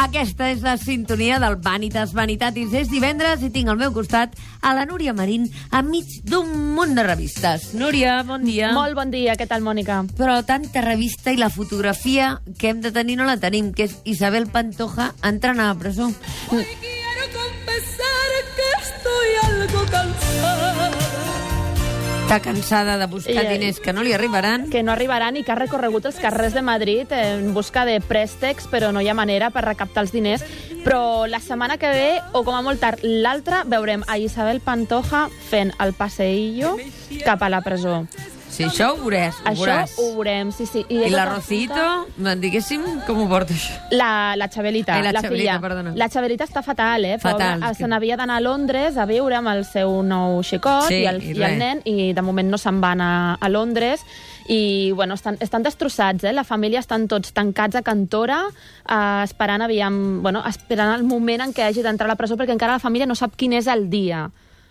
Aquesta és la sintonia del Vanitas Vanitatis. És divendres i tinc al meu costat a la Núria Marín enmig d'un munt de revistes. Núria, bon dia. Molt bon dia, què tal, Mònica? Però tanta revista i la fotografia que hem de tenir no la tenim, que és Isabel Pantoja entrant a la presó. Hoy quiero confesar que estoy algo cansada. Està cansada de buscar Ei, ei. diners que no li arribaran. Que no arribaran i que ha recorregut els carrers de Madrid en busca de préstecs, però no hi ha manera per recaptar els diners. Però la setmana que ve, o com a molt tard l'altra, veurem a Isabel Pantoja fent el passeillo cap a la presó. Sí, això ho veuràs, ho Això veuràs. ho veurem, sí, sí. de I la tota Rocito, forma, diguéssim, com ho porta això? La, la Xabelita, Ai, Eh, la la, Xabelita, filla. perdona. La Xabelita està fatal, eh? Fatal, Pobra, és que- se n'havia d'anar a Londres a viure amb el seu nou xicot Sí, i, el, i i el res. nen, i de moment no se'n van a, a Londres. I, bueno, estan, estan destrossats, eh? La família estan tots tancats a Cantora, eh, esperant, aviam, bueno, esperant el moment en què hagi d'entrar a la presó, perquè encara la família no sap quin és el dia.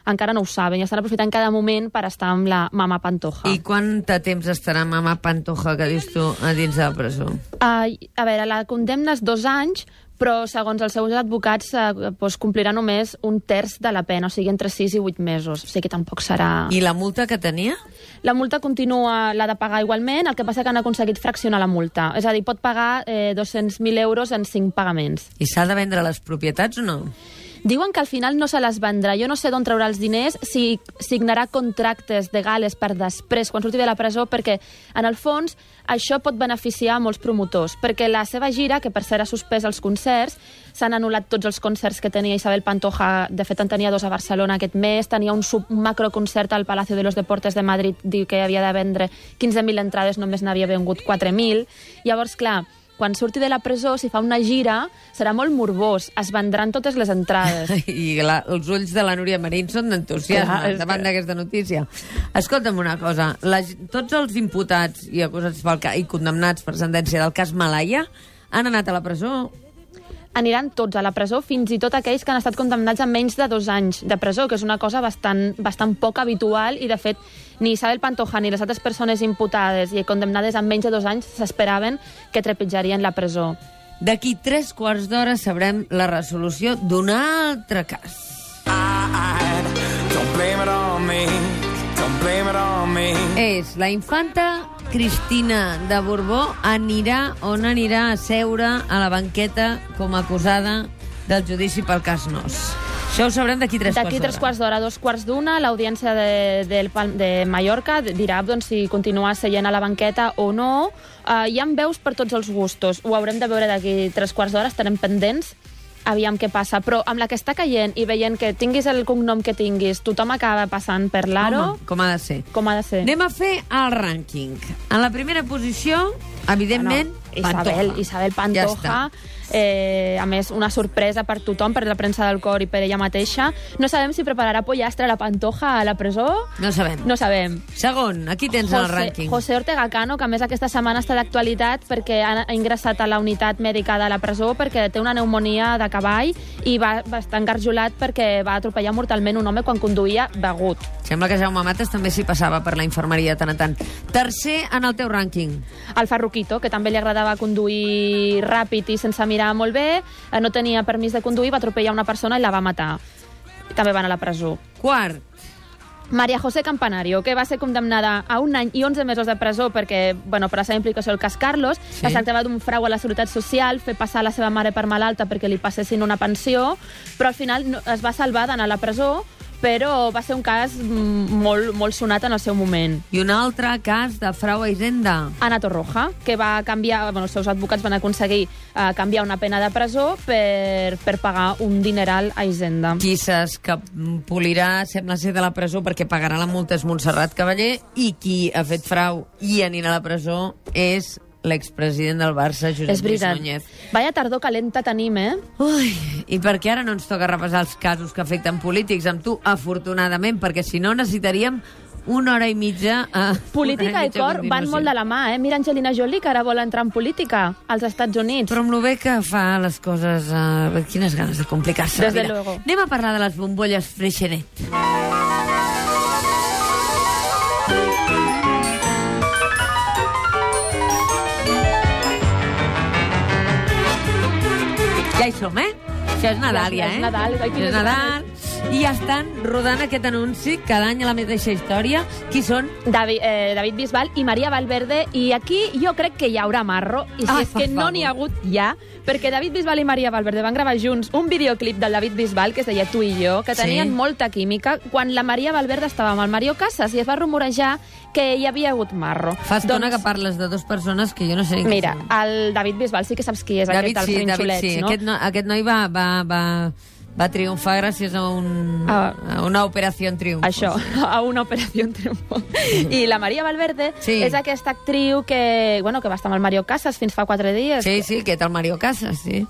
Encara no ho saben i estan aprofitant cada moment per estar amb la mama Pantoja. I quant de temps estarà mama Pantoja, que dius tu, a dins de la presó? Uh, a veure, la condemna és dos anys, però segons els seus advocats uh, doncs complirà només un terç de la pena, o sigui, entre sis i vuit mesos. O sigui que tampoc serà... I la multa que tenia? La multa continua, l'ha de pagar igualment, el que passa que han aconseguit fraccionar la multa. És a dir, pot pagar eh, 200.000 euros en cinc pagaments. I s'ha de vendre les propietats o no? Diuen que al final no se les vendrà. Jo no sé d'on traurà els diners, si signarà contractes de gales per després, quan surti de la presó, perquè, en el fons, això pot beneficiar a molts promotors, perquè la seva gira, que per cert ha suspès els concerts, s'han anul·lat tots els concerts que tenia Isabel Pantoja, de fet en tenia dos a Barcelona aquest mes, tenia un, sub, un macroconcert al Palacio de los Deportes de Madrid, diu que havia de vendre 15.000 entrades, només n'havia vengut 4.000. Llavors, clar, quan surti de la presó, si fa una gira, serà molt morbós. Es vendran totes les entrades. I la, els ulls de la Núria Marín són Clar, d'entusiasme és davant que- d'aquesta notícia. Escolta'm una cosa, la, g- tots els imputats i acusats pel ca, i condemnats per sentència del cas Malaya han anat a la presó? Aniran tots a la presó, fins i tot aquells que han estat condemnats a menys de dos anys de presó, que és una cosa bastant, bastant poc habitual i, de fet, ni Isabel Pantoja ni les altres persones imputades i condemnades a menys de dos anys s'esperaven que trepitjarien la presó. D'aquí tres quarts d'hora sabrem la resolució d'un altre cas. I- I- Don't blame it on me. Don't blame it on me. És la infanta Cristina de Borbó anirà on anirà a seure a la banqueta com a acusada del judici pel cas Nos. Això ho sabrem d'aquí tres quarts D'aquí tres quarts d'hora, dos quarts d'una, l'audiència de, del Pal- de Mallorca dirà doncs, si continua seient a la banqueta o no. Uh, hi ha veus per tots els gustos. Ho haurem de veure d'aquí tres quarts d'hora, estarem pendents aviam què passa. Però amb la que està caient i veient que tinguis el cognom que tinguis, tothom acaba passant per l'aro, Home, com ha de ser. com ha de ser. Anem a fer el rànquing. En la primera posició, evidentment, Ah, Isabel, Pantoja. Isabel Ja Pantoja, està. eh, a més, una sorpresa per tothom, per la premsa del cor i per ella mateixa. No sabem si prepararà pollastre la Pantoja a la presó. No sabem. No sabem. Segon, aquí tens el rànquing. José Ortega Cano, que a més aquesta setmana està d'actualitat perquè ha ha ingressat a la unitat mèdica de la presó perquè té una pneumonia de cavall i va, va estar engarjolat perquè va atropellar mortalment un home quan conduïa begut. Sembla que Jaume Mates també s'hi passava per la infermeria de tant en tant. Tercer en el teu rànquing. El Ferruquito, que també li agradava conduir ràpid i sense mirar molt bé, eh, no tenia permís de conduir, va atropellar una persona i la va matar. I També van a la presó. Quart, Maria José Campanario, que va ser condemnada a un any i 11 mesos de presó perquè, bueno, per la seva implicació al cas Carlos, Sí. sí. es tractava d'un frau a la Seguretat Social, fer passar la seva mare per malalta perquè li passessin una pensió, però al final no, es va salvar d'anar a la presó, però va ser un cas mm, molt, molt sonat en el seu moment. I un altre cas de frau a Hisenda. Ana Torroja, que va canviar, bueno, els seus advocats van aconseguir eh, canviar una pena de presó per, per pagar un dineral a Hisenda. Qui s'escapolirà, sembla ser, de la presó perquè pagarà la multa és Montserrat Cavaller i qui ha fet frau i anirà a la presó és l'expresident del Barça, És Josep Lluís veritat. Núñez. Vaya tardor calenta tenim, eh? Ui, I per què ara no ens toca repassar els casos que afecten polítics amb tu, afortunadament, perquè si no necessitaríem una hora i mitja... eh, una Política hora i mitja a cor van continuació. molt de la mà, eh? Mira Angelina Jolie, que ara vol entrar en política als Estats Units. Però amb lo bé que fa les coses... Eh, quines ganes de complicar-se. la Desde vida. luego. Anem a parlar de les bombolles Freixenet. Ja hi som, eh? Això és Nadal, ja, és eh? Nadal, ai, Això quines és Nadal. I ja estan rodant aquest anunci cada any a la mateixa història. Qui són? David, eh, David Bisbal i Maria Valverde, i aquí jo crec que hi haurà marro, i si Ah, és per que no favor. n'hi ha hagut ja, perquè David Bisbal i Maria Valverde van gravar junts un videoclip del David Bisbal que es deia Tu i jo, que Sí. tenien molta química, quan la Maria Valverde estava amb el Mario Casas i es va rumorejar que hi havia hagut marro. Doncs, Fa estona que parles de dues persones que jo no sé ni qui Mira, són. el David Bisbal sí que saps qui és, David, aquest, el sí, David, trinxolet, sí. no? Aquest, no, aquest noi va, va, va, va triomfar gràcies a, un, Ah. a una operació en triomf. Això, a una operació en triomfo. I la Maria Valverde Sí. és aquesta actriu que, bueno, que va estar amb el Mario Casas fins fa quatre dies. Sí, sí, aquest el Mario Casas, sí.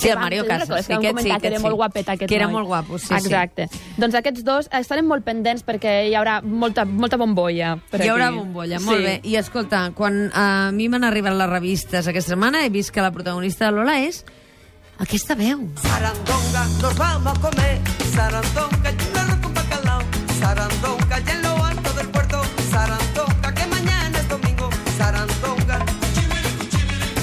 Sí, Que el vam- Mario sí, Casas. recordes Sí, que vam aquest sí, comentar que aquest era sí. molt guapet, aquest Que era noi. molt guapo, sí, Exacte. Doncs aquests dos estarem molt pendents perquè hi haurà molta, molta bombolla. Per sí. Hi haurà aquí. bombolla, Sí. molt bé. I escolta, quan eh, a mi m'han arribat les revistes aquesta setmana, he vist que la protagonista de Lola és aquesta veu. Sarandonga, nos vamos a comer. Sarandonga, llenalo con bacalao. Sarandonga, ya en lo alto del puerto. Sarandonga, que mañana es domingo. Sarandonga,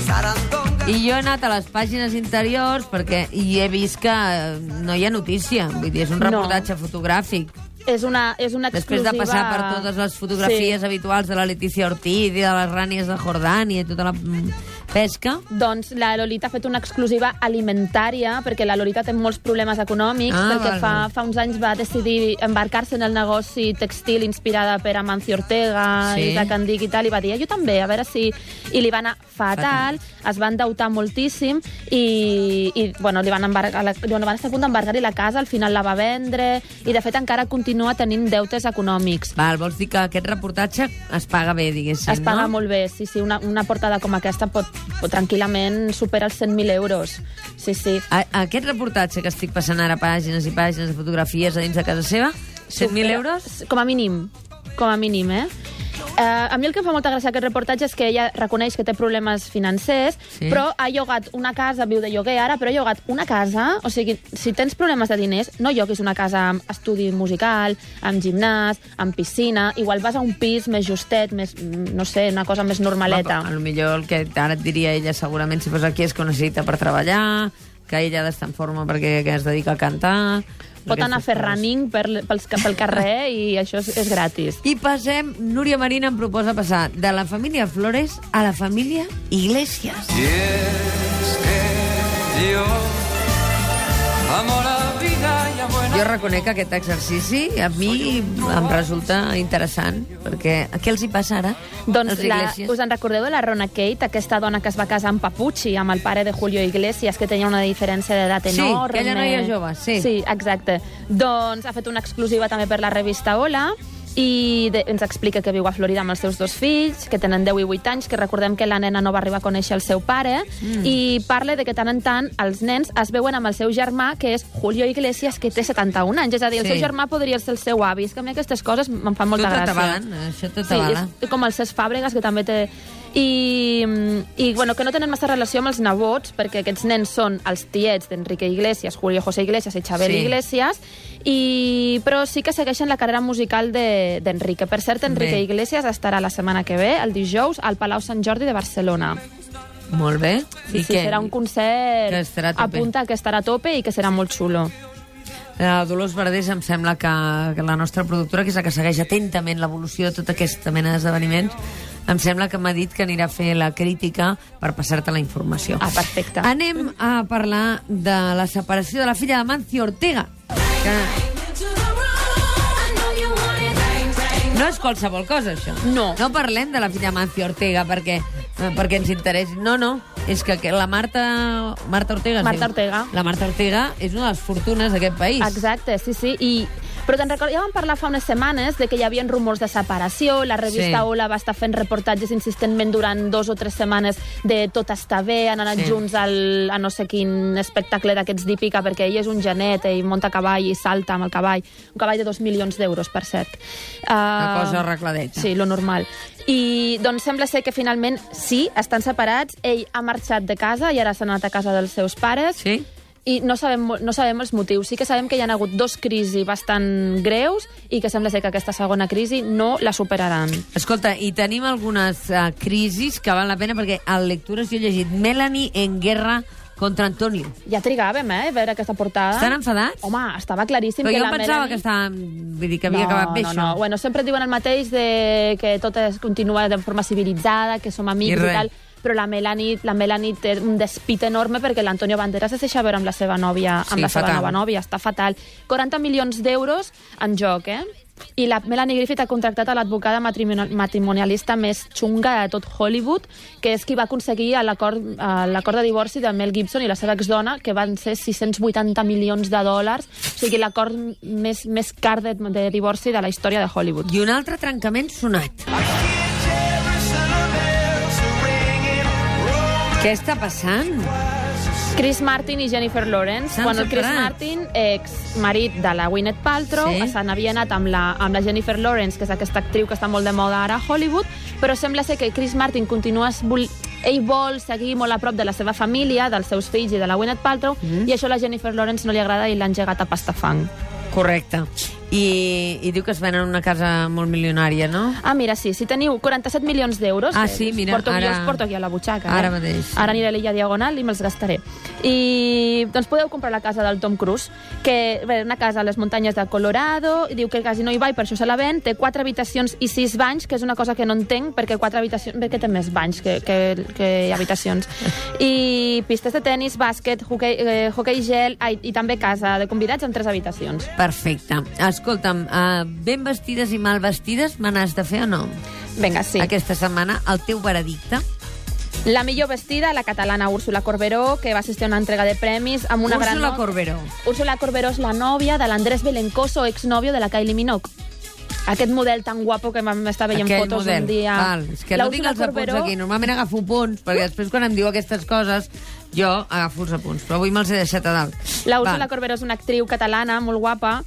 sarandonga. I jo he anat a les pàgines interiors perquè hi he vist que eh, no hi ha notícia. Vull dir, és un No. reportatge fotogràfic. És una, és una Després exclusiva... de passar per totes les fotografies Sí. habituals de la Letícia Ortiz i de les rànies de Jordània i tota la mm, pesca... Doncs la Lolita ha fet una exclusiva alimentària, perquè la Lolita té molts problemes econòmics, Ah, perquè val, fa, val. fa uns anys va decidir embarcar-se en el negoci textil inspirada per Amancio Ortega, Sí. sí. Isaac Andic i tal, i va dir, "Ah, jo també, a veure si... I li va anar fatal, es va endeutar moltíssim, i, i bueno, li van, embargar, la, bueno, van estar a punt d'embargar-li la casa, al final la va vendre, i de fet encara continua tenint deutes econòmics. Val, vols dir que aquest reportatge es paga bé, diguéssim, Es paga no? molt bé, sí, sí. Una, una portada com aquesta pot, pot tranquil·lament superar els 100.000 euros. Sí, sí. A, aquest reportatge que estic passant ara pàgines i pàgines de fotografies a dins de casa seva, 100.000 Supera- euros? Com a mínim. Com a mínim, eh? Uh, a mi el que em fa molta gràcia aquest reportatge és que ella reconeix que té problemes financers, Sí. sí. però ha llogat una casa, viu de lloguer ara, però ha llogat una casa, o sigui, si tens problemes de diners, no lloguis una casa amb estudi musical, amb gimnàs, amb piscina, igual vas a un pis més justet, més, mm, no sé, una cosa més normaleta. A lo millor el que ara et diria ella segurament si fos aquí és que ho necessita per treballar, que ella ha d'estar en forma perquè que es dedica a cantar... Pot anar a fer Aquestes coses. running per, pels, pel carrer i això és, és gratis. I passem, Núria Marina em proposa passar de la família Flores a la família Iglesias. Y es que yo amo la vida y a buena Jo reconec que aquest exercici a mi em resulta interessant, perquè què els hi passa ara? Doncs als la, Iglesias? us en recordeu de la Rona Kate, aquesta dona que es va casar amb Papucci, amb el pare de Julio Iglesias, que tenia una diferència d'edat Sí, enorme. aquella noia jove, sí. Sí, exacte. Doncs ha fet una exclusiva també per la revista Hola, i de, ens explica que viu a Florida amb els seus dos fills, que tenen 10 i 8 anys, que recordem que la nena no va arribar a conèixer el seu pare, mm. i parla de que tant en tant els nens es veuen amb el seu germà, que és Julio Iglesias, que té 71 anys. És a dir, el Sí. seu germà podria ser el seu avi. És que a mi aquestes coses em Tu fan molta gràcia. t'atabalen, eh? això Sí, t'atabala. és com el Cesc Fàbregas, que també té... I, I, bueno, que no tenen massa relació amb els nebots, perquè aquests nens són els tiets d'Enrique Iglesias, Julio José Iglesias i Xavier Sí. sí. Iglesias, i, però sí que segueixen la carrera musical de- d'Enrique. per cert, Enrique Bé. Iglesias estarà la setmana que ve, el dijous, al Palau Sant Jordi de Barcelona. Molt bé. Sí, sí, serà un concert... que estarà a tope. apunta que estarà a tope i que serà molt xulo. La Eh, Dolors Verdés em sembla que, que la nostra productora, que és la que segueix atentament l'evolució de tota aquesta mena d'esdeveniments, em sembla que m'ha dit que anirà a fer la crítica per passar-te la informació. Ah, perfecte. Anem a parlar de la separació de la filla de Mancio Ortega, que no és qualsevol cosa, això. No. No parlem de la filla de Mancio Ortega perquè, eh, perquè ens interessa. No, no, és que que la Marta, Marta Ortega... es Marta diu. Ortega. La Marta Ortega és una de les fortunes d'aquest país. Exacte, sí, sí. I, però te'n recordes, ja vam parlar fa unes setmanes de que hi havia rumors de separació, la revista Sí. sí. Ola va estar fent reportatges insistentment durant dos o tres setmanes de tot està bé, han anat Sí. sí. junts al, a no sé quin espectacle d'aquests d'hípica, perquè ell és un genet, ell monta a cavall i salta amb el cavall, un cavall de dos milions d'euros, per cert. Uh, Una cosa arregladeta. Sí, lo normal. I doncs sembla ser que finalment sí, estan separats, ell ha marxat de casa i ara s'ha anat a casa dels seus pares. Sí? I no sabem, mo- no sabem els motius. Sí que sabem que hi ha hagut dos crisis bastant greus i que sembla ser que aquesta segona crisi no la superaran. Escolta, i tenim eh, algunes uh, crisis que val la pena perquè a lectures jo he llegit Melanie en guerra contra Antonio. Ja trigàvem, eh, a veure aquesta portada. Estan enfadats? Home, estava claríssim Però que jo la pensava Melanie... que estava... Vull dir, que havia acabat bé, no, això. No. Bueno, sempre et diuen el mateix de que tot es continua de forma civilitzada, que som I amics i, res. tal, però la Melanie, la Melanie té un despit enorme perquè l'Antonio Banderas es deixa veure amb la seva nòvia, amb Sí, la seva fatal. nova nòvia, està fatal. 40 milions d'euros en joc, eh? I la Melanie Griffith ha contractat a l'advocada matrimonial- matrimonialista més xunga de tot Hollywood, que és qui va aconseguir l'acord eh, l'acord de divorci de Mel Gibson i la seva exdona, que van ser 680 milions de dòlars, o sigui, l'acord més, més car de, de divorci de la història de Hollywood. I un altre trencament sonat. Què està passant? Chris Martin i Jennifer Lawrence. S'han Quan el Chris separat. Martin, ex-marit de la Gwyneth Paltrow, Sí. sí. se n'havia anat amb la, amb la Jennifer Lawrence, que és aquesta actriu que està molt de moda ara a Hollywood, però sembla ser que Chris Martin continua... es Vol, ell vol seguir molt a prop de la seva família, dels seus fills i de la Gwyneth Paltrow, mm. i això a la Jennifer Lawrence no li agrada i l'ha engegat a pastafang. Correcte. I, I diu que es venen una casa molt milionària, no? Ah, mira, sí, si teniu 47 milions d'euros... Ah, eh, sí, us mira, porto, ara- Jo els porto aquí a la butxaca. Ara eh? mateix. Ara aniré a l'illa diagonal i me'ls gastaré. I doncs podeu comprar la casa del Tom Cruise, que bé, una casa a les muntanyes de Colorado, i diu que quasi no hi va i per això se la ven, té quatre habitacions i sis banys, que és una cosa que no entenc, perquè quatre habitacions... Perquè té més banys que, que, que habitacions. I pistes de tennis, bàsquet, hoquei, eh, hoquei gel, ai, i també casa de convidats amb tres habitacions. Perfecte. Escolta'm, uh, ben vestides i mal vestides me n'has de fer o no? Vinga, sí. Aquesta setmana, el teu veredicte. La millor vestida, la catalana Úrsula Corberó, que va assistir a una entrega de premis amb una gran... Úrsula no- Corberó. Úrsula Corberó és la nòvia de l'Andrés Belencoso, exnòvio de la Kylie Minogue. Aquest model tan guapo que vam estar veient Aquell fotos model. un dia. Val. És que La no tinc Úrsula els apunts Corberó- aquí. Normalment agafo punts, perquè després quan em diu aquestes coses jo agafo els apunts, però avui me'ls he deixat a dalt. La Úrsula Val. Corberó és una actriu catalana molt guapa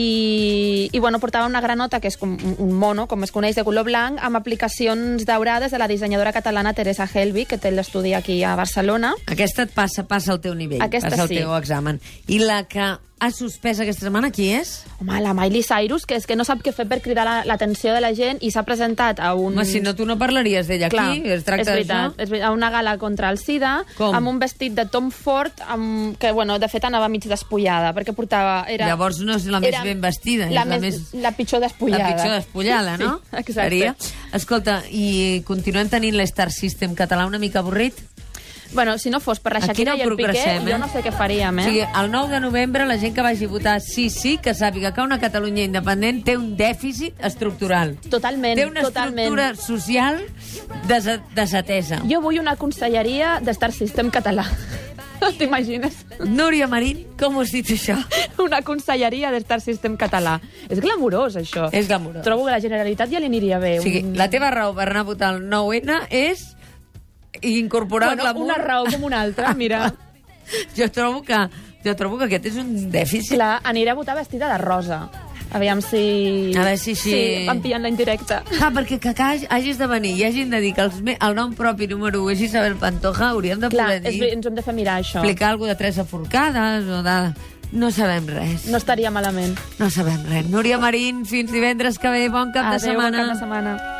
i, i bueno, portava una granota que és com un- un mono, com es coneix, de color blanc amb aplicacions daurades de la dissenyadora catalana Teresa Helvig, que té l'estudi aquí a Barcelona. Aquesta et passa, passa el teu nivell, Aquesta passa el sí. teu examen. I la que ha suspès aquesta setmana, qui és? Home, la Miley Cyrus, que és que no sap què fer per cridar la- l'atenció de la gent i s'ha presentat a un... Home, si no, tu no parlaries d'ella Mm. Clar, aquí. Es tracta és veritat, d'això. és veritat, a una gala contra el SIDA, Com? amb un vestit de Tom Ford, amb, que, bueno, de fet anava mig despullada, perquè portava... Era, Llavors no és la més ben vestida, és La, la més, més- la pitjor despullada. La pitjor despullada, no? Sí, exacte. Seria? Escolta, i continuem tenint l'Star System català una mica avorrit? Bueno, si no fos per la Aquí Shakira no i el Piqué, progressem, eh? jo no sé què faríem, O eh? sigui, el 9 de novembre la gent que vagi a votar sí, sí, que sàpiga que una Catalunya independent té un dèficit estructural. Totalment, Té una totalment. estructura social desa- desatesa. Jo vull una conselleria d'Star System català. T'imagines? Núria Marín, com us dit això? una conselleria d'Star System català. És glamurós, això. És glamurós. Trobo que la Generalitat ja li aniria bé. O sigui, un- la teva raó per anar a votar el 9-N és incorporar bueno, el glamour. una raó com una altra, mira. Jo trobo que, jo trobo que aquest és un dèficit. Clar, aniré a votar vestida de rosa. Aviam si... A veure si així- Sí, em pillen la indirecta. Clar, Ah, perquè que, que hagi- hagis de venir i hagin de dir que els me, el nom propi número 1 és Isabel Pantoja, hauríem de Clar, poder és, dir, ver- ens ho hem de fer mirar, això. explicar alguna cosa de Teresa Forcades o de... No sabem res. No estaria malament. No sabem res. Núria Marín, fins divendres que ve. Bon cap Adéu, de setmana. Bon cap de setmana.